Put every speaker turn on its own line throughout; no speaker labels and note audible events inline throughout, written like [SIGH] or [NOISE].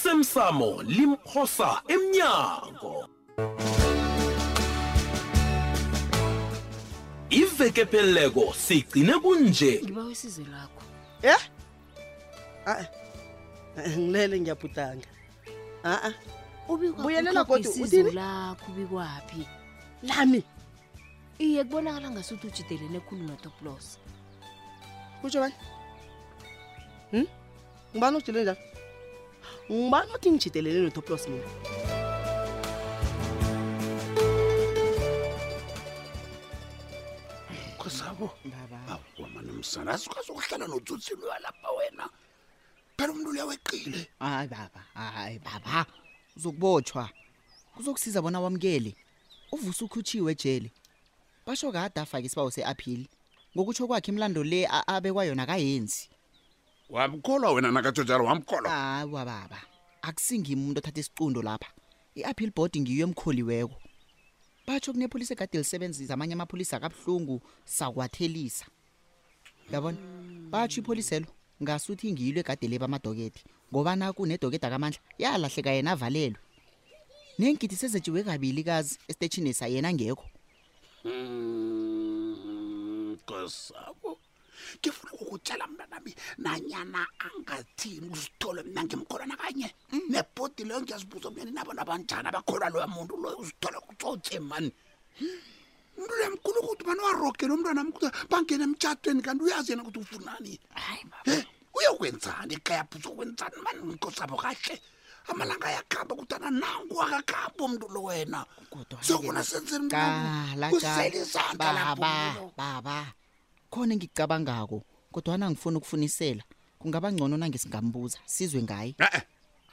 osemsamo limphosa emnyango iveke pheleleko sigcine kunje
ngiba wesize lakho
ye a ah, ngilele ngiyabhudanga a-a
Ubikwa-
Buyelela
utlhoga
godu,
isizo
uthini?
lakho ubikwaphi
lami
iye kubonakala ngasuthi ujidelene khulu notoplos
kutsho bani um ngibani ojideleni njalo ngibani othi ngijidelele notoplos mina
kosabo awamanumsana asikwazi ukuhlala notsutsilwa lapha wena phela umntu uyaweqile
hayi baba hayi baba uzokubotshwa kuzokusiza bona wamukele uvusa ukhutshiwe ejele basho kade afake isibawo se-aphili ngokutsho kwakhe imlando le a- abekwa yona kayenzi
wamkholwa wena nakatshotshalo wamkholwa
hayi wababa akusingimi umuntu othatha isicundo lapha i-appeal board ngiyo emkholiweko batsho kunepholisa egade lisebenzisa amanye amapholisa akabuhlungu sakwathelisa uyabona batsho ipholiselo ngasuthi ngiyilo egade le bamadokedi ngoba naku nedokeda kamandla yalahleka yena avalelwe neenkidi sezetshiwe kabili kazi esitetshinisa yena ngekho
Mm, kosabo ngifuna ukukutshela mntanami nanyana angathini uzithole mna ngimkholwa nakanye
Hmm.
nebhodi leyo ngiyazibuza mnyani nabona banjani abakholwa loya muntu loyo uzithole kutsotse mani
Hmm.
mntu loya mkhulu ukuthi mani warogele umntwana mkuthi bangena emtshatweni kanti uyazi yena ukuthi ufunani
hayi baba
Eh, uyokwenzani ekhayapha uzokwenzani mani nkosabo kahle amalanga ayakhamba kutana nangu akakhamba umntu lo wena
Kodwa-ke
sokona senzeni
Qala,
usele
qala.
izandla lapho
Baba,
umntu lo.
baba khona engicabangako kodwana ngifuna ukufunisela kungaba ngcono nangesingambuza sizwe ngaye
e-e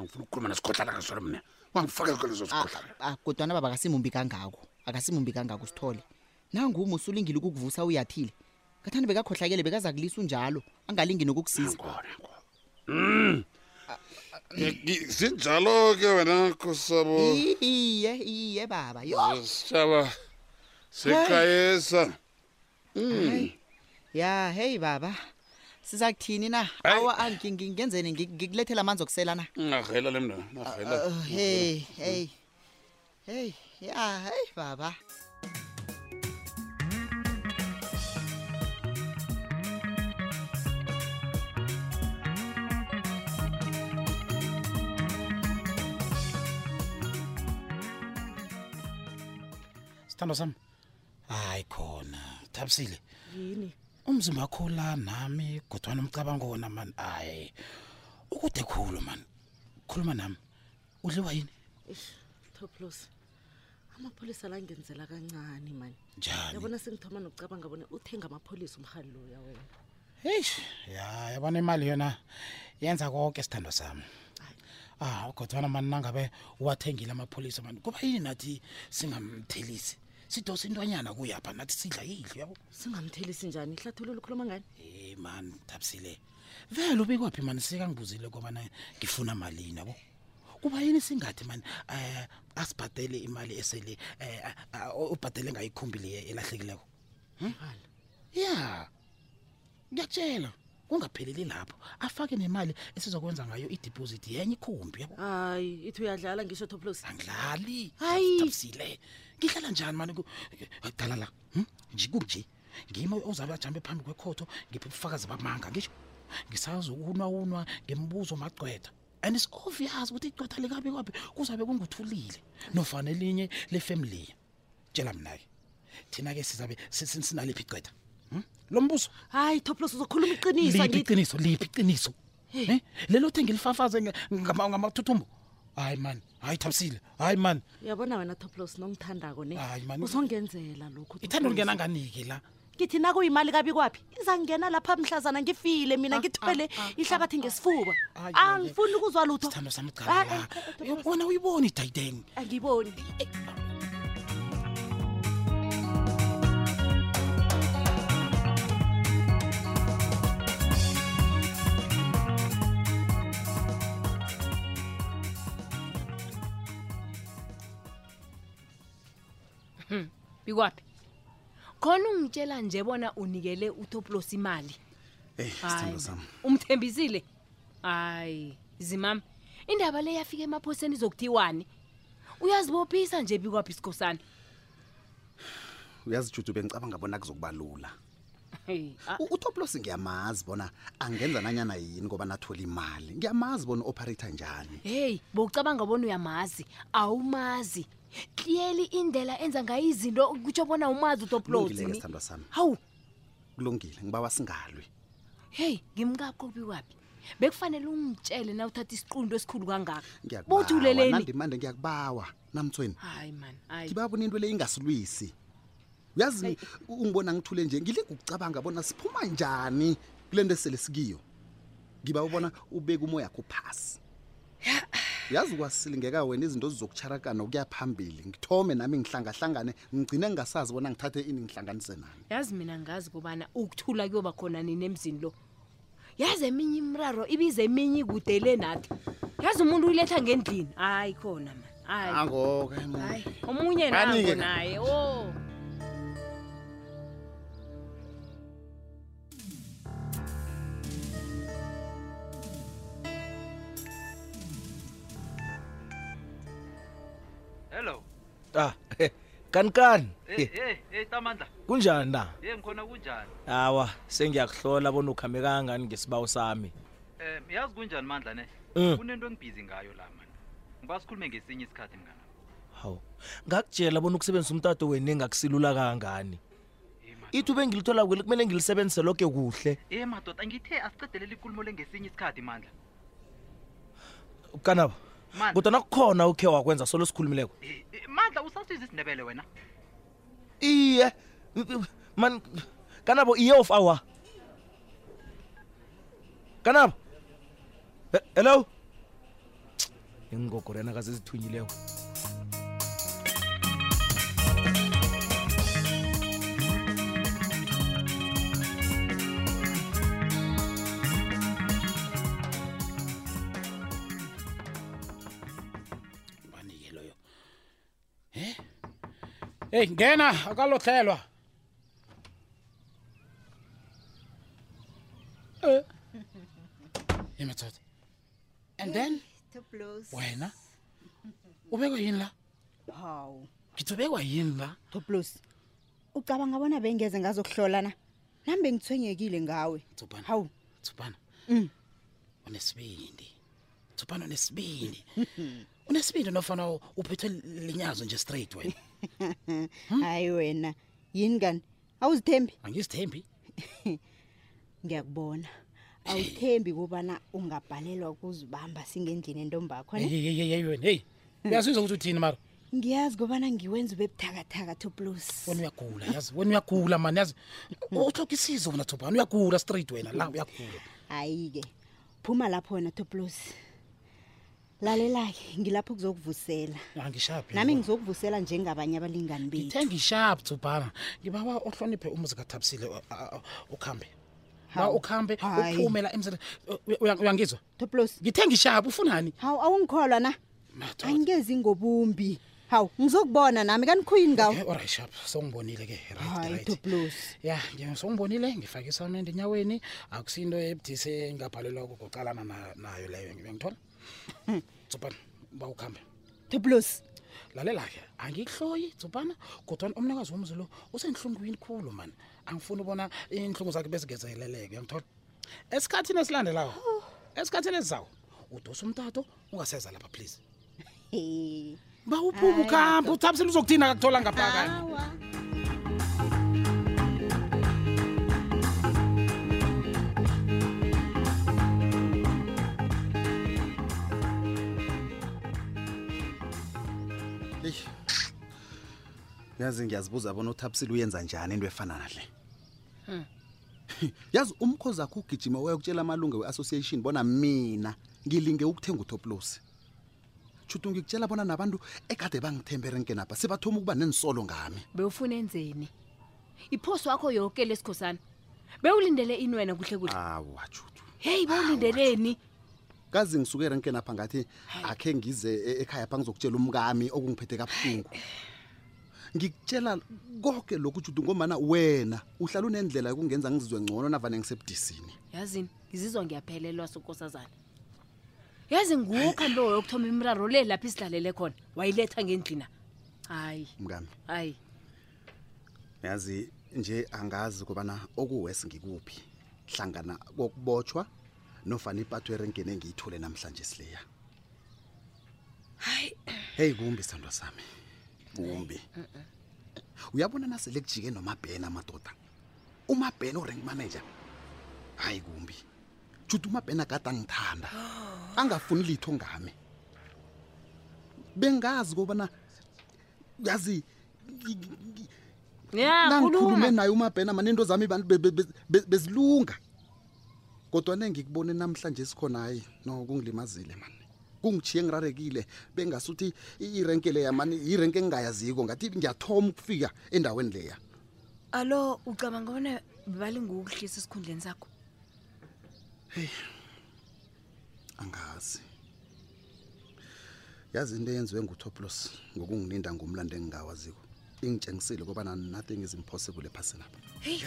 angifuna ukukhuluma nesikhohlala kasolo mna wangifakeko lezo
Ah,
sikhohlala
ah, kodwana baba akasimumbi kangako akasimumbi kangako sithole nanguma usulingile ukukuvusa uyathile ngathanda bekakhohlakele bekaza kulisa unjalo angalingi nokukusiza
ngona Mm. sinjalo-ke wena nkosabo
I- iye iye baba yo
sitshaba sekayesa
ya heyi baba siza kuthini na
Hayi.
awa ah, ngi- ngi- ngenzeni Ngi- ngikulethela amanzi okusela na
ngahela le mna ngahela
Oh, hey hey hey ya hey baba
sithando sami hayi khona thabisile yini umzimba wakho la nami kodwana umcabango wona mani hayi ukude khulu mani khuluma nami udliwa yini
toplos amapholisa la ngenzela kancane mani
njani
yabona sengithoma nokucabanga bona uthenga amapholisa umhali loya wena
eish ya yabona imali yona yenza konke sithando sami ah kodwana mani nangabe uwathengile amapholisa mani kuba yini nathi singamthelisi sidose intwanyana kuyapha nathi sidla yidli yabo
singamthelisi njani ihlathululo ukhuluma ngani
hey man thabisile vele ubekwaphi mani sika ngibuzile kobana ngifuna malini yabo kuba yini singathi mani um asibhatele imali esele um ubhatele ngayo ikhumbi le elahlekileko Hmm?
mhali
ya ngiyakutshela kungapheleli lapho afake nemali esizokwenza ngayo idiphozithi yenye ikhumbi yabo
hayi ithi uyadlala ngisho toplos
angidlali
Hayi.
tabisile ngihlala njani mani ku- eh, qala la hm? nje kunje ngima ozabe ajambe phambi kwekhotho ngiphe ubufakazi bamanga ngisho ngisazokunwaunwa ngemibuzo macwetha and is obvious ukuthi icwetha likabi kwabi kuzabe kunguthulile nofana elinye lefemiliya tshela mna-ke thina-ke sizabe si- si- sinaliphi icwetha hm? lo mbuzo
hayi toplos uzokhuluma iqiniso
liphi
ngithi
iqiniso liphi iqiniso Eh, lelo the ngilifafaze nge- ngama- ngamathuthumbo hayi mani hayi thabisile hayi mani
uyabona wena toplos nongithandako ne
Hayi, man.
uzongenzela lokhu
ithanda
Toplos.
olingena nganiki la
ngithi nakuyimali kabi kwaphi izangena lapha mhlazana ngifile mina ngithwele ihlabathi ngesifuba
Ayi,
angifuni ukuzwa lutho
sithando sami
Ah,
cala
eh, eh,
la wona uyiboni idayideng
angiboni
bikwaphi Hmm, khona ungitshela nje bona unikele utoplos imali
eyi
Hayi, umthembisile hayi zimama
indaba le yafika emaphoseni izokuthiwani uyazibophisa nje bikwaphi isikhosana
uyazijudube ngicabanga bona kuzokuba lula
Hey, ah. a-
U- utoplos ngiyamazi bona angenza nanyana yini ngoba nathole imali ngiyamazi bona u-operator njani
heyi bowucabanga bona uyamazi awumazi kliyeli indlela enza ngayo izinto kutsho bona umazi
kulungile-ke
utoplotini
sithandwa sami
hawu
kulungile ngiba wasingalwi
heyi ngimkaqo bikwaphi bekufanele ungitshele na uthatha isiqundo esikhulu kangaka bothi uleleni
ngiyakubawandimande ngiyakubawa namthweni
hayi mani hayi
ngibabona into le ingasilwisi uyazi ungibona ngithule nje ngilinga ukucabanga bona siphuma njani kule nto esele sikiyo ngiba ubona ubeke umoya kho phasi uyazi kwasilingeka wena izinto zizokutsharakana ukuya phambili ngithome nami ngihlangahlangane ngigcine ngingasazi bona ngithathe ini ngihlanganise nani
yazi mina ngazi kubana ukuthula kuyoba khona nini emzini lo yazi eminye imraro ibize eminye ikude le nathi yazi umuntu uyiletha ngendlini hayi khona mani hayi
angoke
hayi omunye nango
Banike-ke.
naye o
hello
ah kanikani
hey hey hey Eh, tamandla
kunjani na
hey ngikhona kunjani
hawa sengiyakuhlola bona ukhambe kangani ngesibawu sami
um yazi kunjani mandla ne
Mm.
kunento engibhizi ngayo la mani ngiba sikhulume ngesinye isikhathi mngana
hawu ngakutshela bona ukusebenzisa umtato wenu engakusilula kangani
Hey, man.
ithuba engilithola kweli kumele ngilisebenzise loke kuhle
Eh madoda ngithe asicedelele ikulumo le ngesinye isikhathi mandla
kanaba
Mani.
kodwa nakukhona ukhe wakwenza solo sikhulumileko
Eh, eh, mandla usasiza isindebele wena
iye man kanabo iye of hour kanabo He- hello ingogorena kazizithunyileko
banike loyo e eyi ngena akalotlhelwa Eh. e matsota and then wena [LAUGHS] u bekwa yini la
hawu
ngithi ubekwa yini la
toplos ucabanga bona bengeze ngazokuhlola na nami bengithwenyekile ngawe
Tsopana.
hawu
tsupana
Mm.
unesibindi tsupana unesibindi [LAUGHS] unesibindi nofana uphethwe linyazo nje straight wena
hayi wena yini kani awuzithembi
angizithembi
ngiyakubona awuthembi kubana ungabhalelwa ukuzibamba singendlini entombakho
Eh.
ne
eyeyeyeyeyi wena heyi uyazizwa ukuthi uthini mara
ngiyazi kubana ngiwenza ubebuthakathaka toplos
wena uyagula yazi wena uyagula mani yazi uhloka isizo wena thobani uyagula straight wena la uyagula
hayi-ke phuma lapho wena toplos lalela-ke ngilapho kuzokuvusela
angishaphi
nami ngizokuvusela njengabanye abalingani bethu
ngithenga ishaphi thobana ngibawa ohloniphe umuzi kathabisile uh, uh, uh, ukuhambe ba
Hawu.
ukuhambe
Hayi.
uphumela uh, emsele uyangizwa
toplos
ngithenga ishaphi ufunani
hawu awungikholwa na
Madoda.
angezi ngobumbi hawu ngizokubona nami kanikhuyini ngawo
Eh, alright shap songibonile ke right,
hayi
right.
toplos
ya ngiya- songibonile ngifake isamende enyaweni akusinto ebudise engingabhalelwa kukucalana na- nayo leyo ngithola thobana uba ukuhambe
toplos
lalela-ke angikuhloyi dzubana kodwana umnikazi womzi lo usenhlungwini khulu mani angifuni ubona iinhlungu zakhe bezigezeleleke uyangithola esikhathini esilandelayo esikhathini esizawo udosa umtato ungaseza lapha please
Hey.
ba uphuma ukuhambe uthabisele uzokuthina kakuthola ngaphakani
Awa.
eyi uyazi ngiyazibuza bona uthabisile uyenza njani into efana nale yazi umkhozi akho ugijima wayokutshela amalunga we-association bona mina ngilinge ukuthenga utoplosi shuthi ngikutshela bona nabantu ekade bangithembe erenkenapha sebathoma ukuba nenisolo ngami
bewufuna enzeni iphoso yakho yoke lesikhosana bewulindele ini wena kuhle kuhle
awa jutu
heyi bewulindeleni
kazi ngisuke erenkenapha ngathi akhe ngize e- ekhaya pha ngizokutshela umkami okungiphethe kabuhlungu ngikutshela konke lokhu jutu ngomana wena uhlala unendlela yokungenza ngizizwe ngcono navane ngisebudisini
yazini ngizizwa ngiyaphelelwa sokosazana yazi nguwo ukhambe woyokuthoma imraro le lapho isidlalele khona wayiletha ngendlina hayi
mngami
hayi
yazi nje angazi kubana okuwesi ngikuphi hlangana kokubotshwa nofana ipatho erenkeni engiyithule namhlanje sileya
hayi
heyi kumbi sithandwa sami kumbi uyabona nasele kujike nomabhena amadoda umabhena urank manager hayi kumbi jude umabhena kade angithanda angafuni litho ngami bengazi kobana yazi ngi- ngi- ngi-
ya
nangikhulume
khuluma
naye umabhena mane into zami ban- be- be- be- be- bezilunga kodwa nengikubone namhlanje sikhona hayi no kungilimazile mani kungichiye ngirarekile bengasuthi i- irenke leya mani irenke engingayaziko ngathi ngiyathoma ukufika endaweni leya
alo ucabanga bona balingukuhlisa esikhundleni sakho
angazi yazi into eyenziwe ngutoplos ngokungininda ngumlando engingawaziko ingitshengisile kobana nothing is impossible ephasini apha
heyi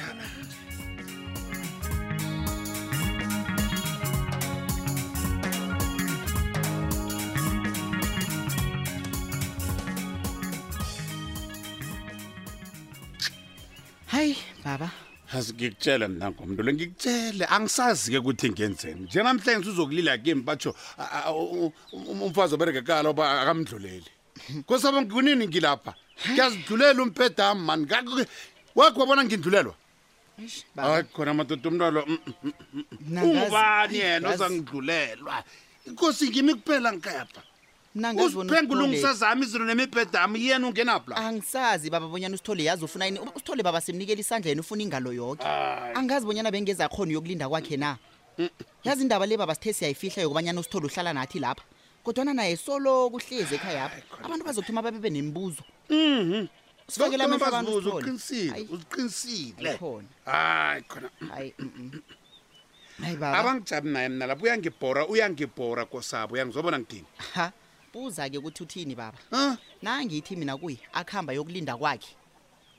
hayi baba
asikikutshele mna ngomntu lo ngikutshele angisazi-ke ukuthi ngenzeni njengamhlanje uzokulila kimi batsho a- a- u- u- umfazi oberekekala uba akamdluleli kosaba kunini ngilapha ngiyazidlulela umpedam mani Ka- wakhe wabona ngindlulelwa hayi khona madoda umntwalo
Mna ngazi-
ungubani
Ayi,
yena
ngazi.
ozangidlulelwa inkosi ngimi kuphela ngikepha
Mna ngazi bona
usiphengulo
usithole.
ungisazami izinto nemibhedami yena ungenapla
Ah, angisazi baba bonyana usithole yazi ufuna yini usithole baba simnikela isandla yena ufuna ingalo yoke
Hayi.
angazi bonyana bengezakhona yokulinda kwakhe na yazi indaba le baba sithe siyayifihla yokubanyana usithole uhlala nathi lapha kodwana naye soloku uhlezi ekhaya apha abantu bazokuthoma babebe nemibuzo sifakela
Lokho
amehlo abantu
bazibuza,
usithole
uqinisile
Hayi.
uqinisile
Ayikhona.
hayi khona mm.
hayi
abangijabi naye mna lapho uyangibhora uyangibhora kosabo uyangizobona ngidini
ha buza-ke ukuthi uthini baba nangithi mina kuye akuhamba yokulinda kwakhe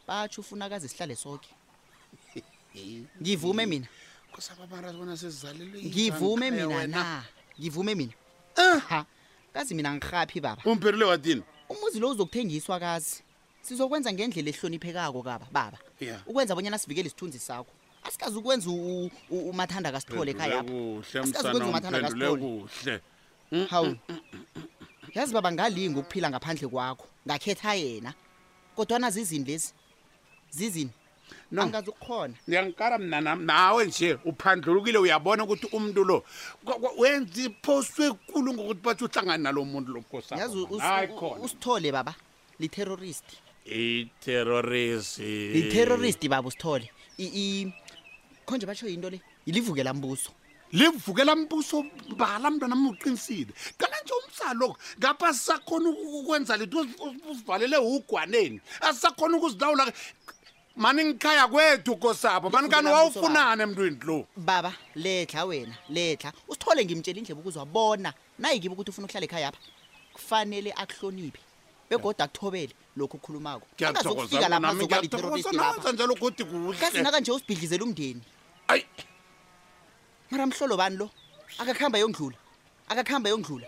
batsho ufuna kaze sihlale
[LAUGHS]
soke ngivume mina
kosabo mara bona sesizalelwe
ngivume mina na ngivume mina ha kazi mina ngirhaphi baba
umpherile wathini
umuzi lo uzokuthengiswa kazi sizokwenza ngendlela ehloniphekako kaba baba
ya
ukwenza abonyana sivikele isithunzi sakho asikazi ukwenza u- u- umathanda kasithole ekhaya apha.
kuhle
Asikazi ukwenza umathanda
msanaphendule
kasithole.
kuhle Mm,
hawu yazi baba ngalinga ukuphila ngaphandle kwakho ngakhetha yena kodwana zizini lezi zizini
No.
angazi ukukhona
ngiyangikara mna nam- nawe nje uphandlulukile uyabona ukuthi umntu lo kwa- kwa- wenza iphosto ekulu ngokuthi bathi uhlangane nalo muntu lo
yazi us-
Ah,
u-
kosabo
usithole baba literrorist
iterrorist
literrorist baba usithole I- i- khonje batsho yinto le yilivukela mbuso
livukela mbuso mbala mntwana mna uqinisile qala nje umsaloko ngapha sisakhona uku- ukwenza lethu usi- usi- usivalele ugwaneni asisakhona ukuzilawula mani ngikhaya kwethu kosabo mani kani
Livukela mbuso,
wawufunani emntwini lo
baba ledla wena ledla usithole ngimtshela indleba ukuzwabona nayikibe ukuthi ufuna ukuhlala ekhaya apha kufanele akuhloniphe begoda akuthobele lokhu okukhulumako
ngiyathokoza nami ngiyathokoza nawenza njalo godi
kazi
kuhle
nakanje usibhidlizela umndeni mara mhlolo bani lo akakuhamba yondlula akakuhamba yondlula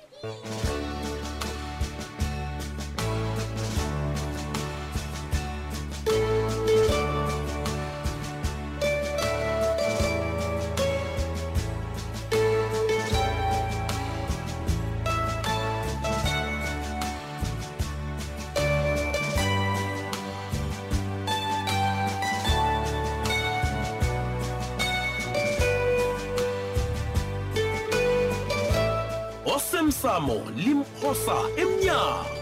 osemsamo limphosa emnyango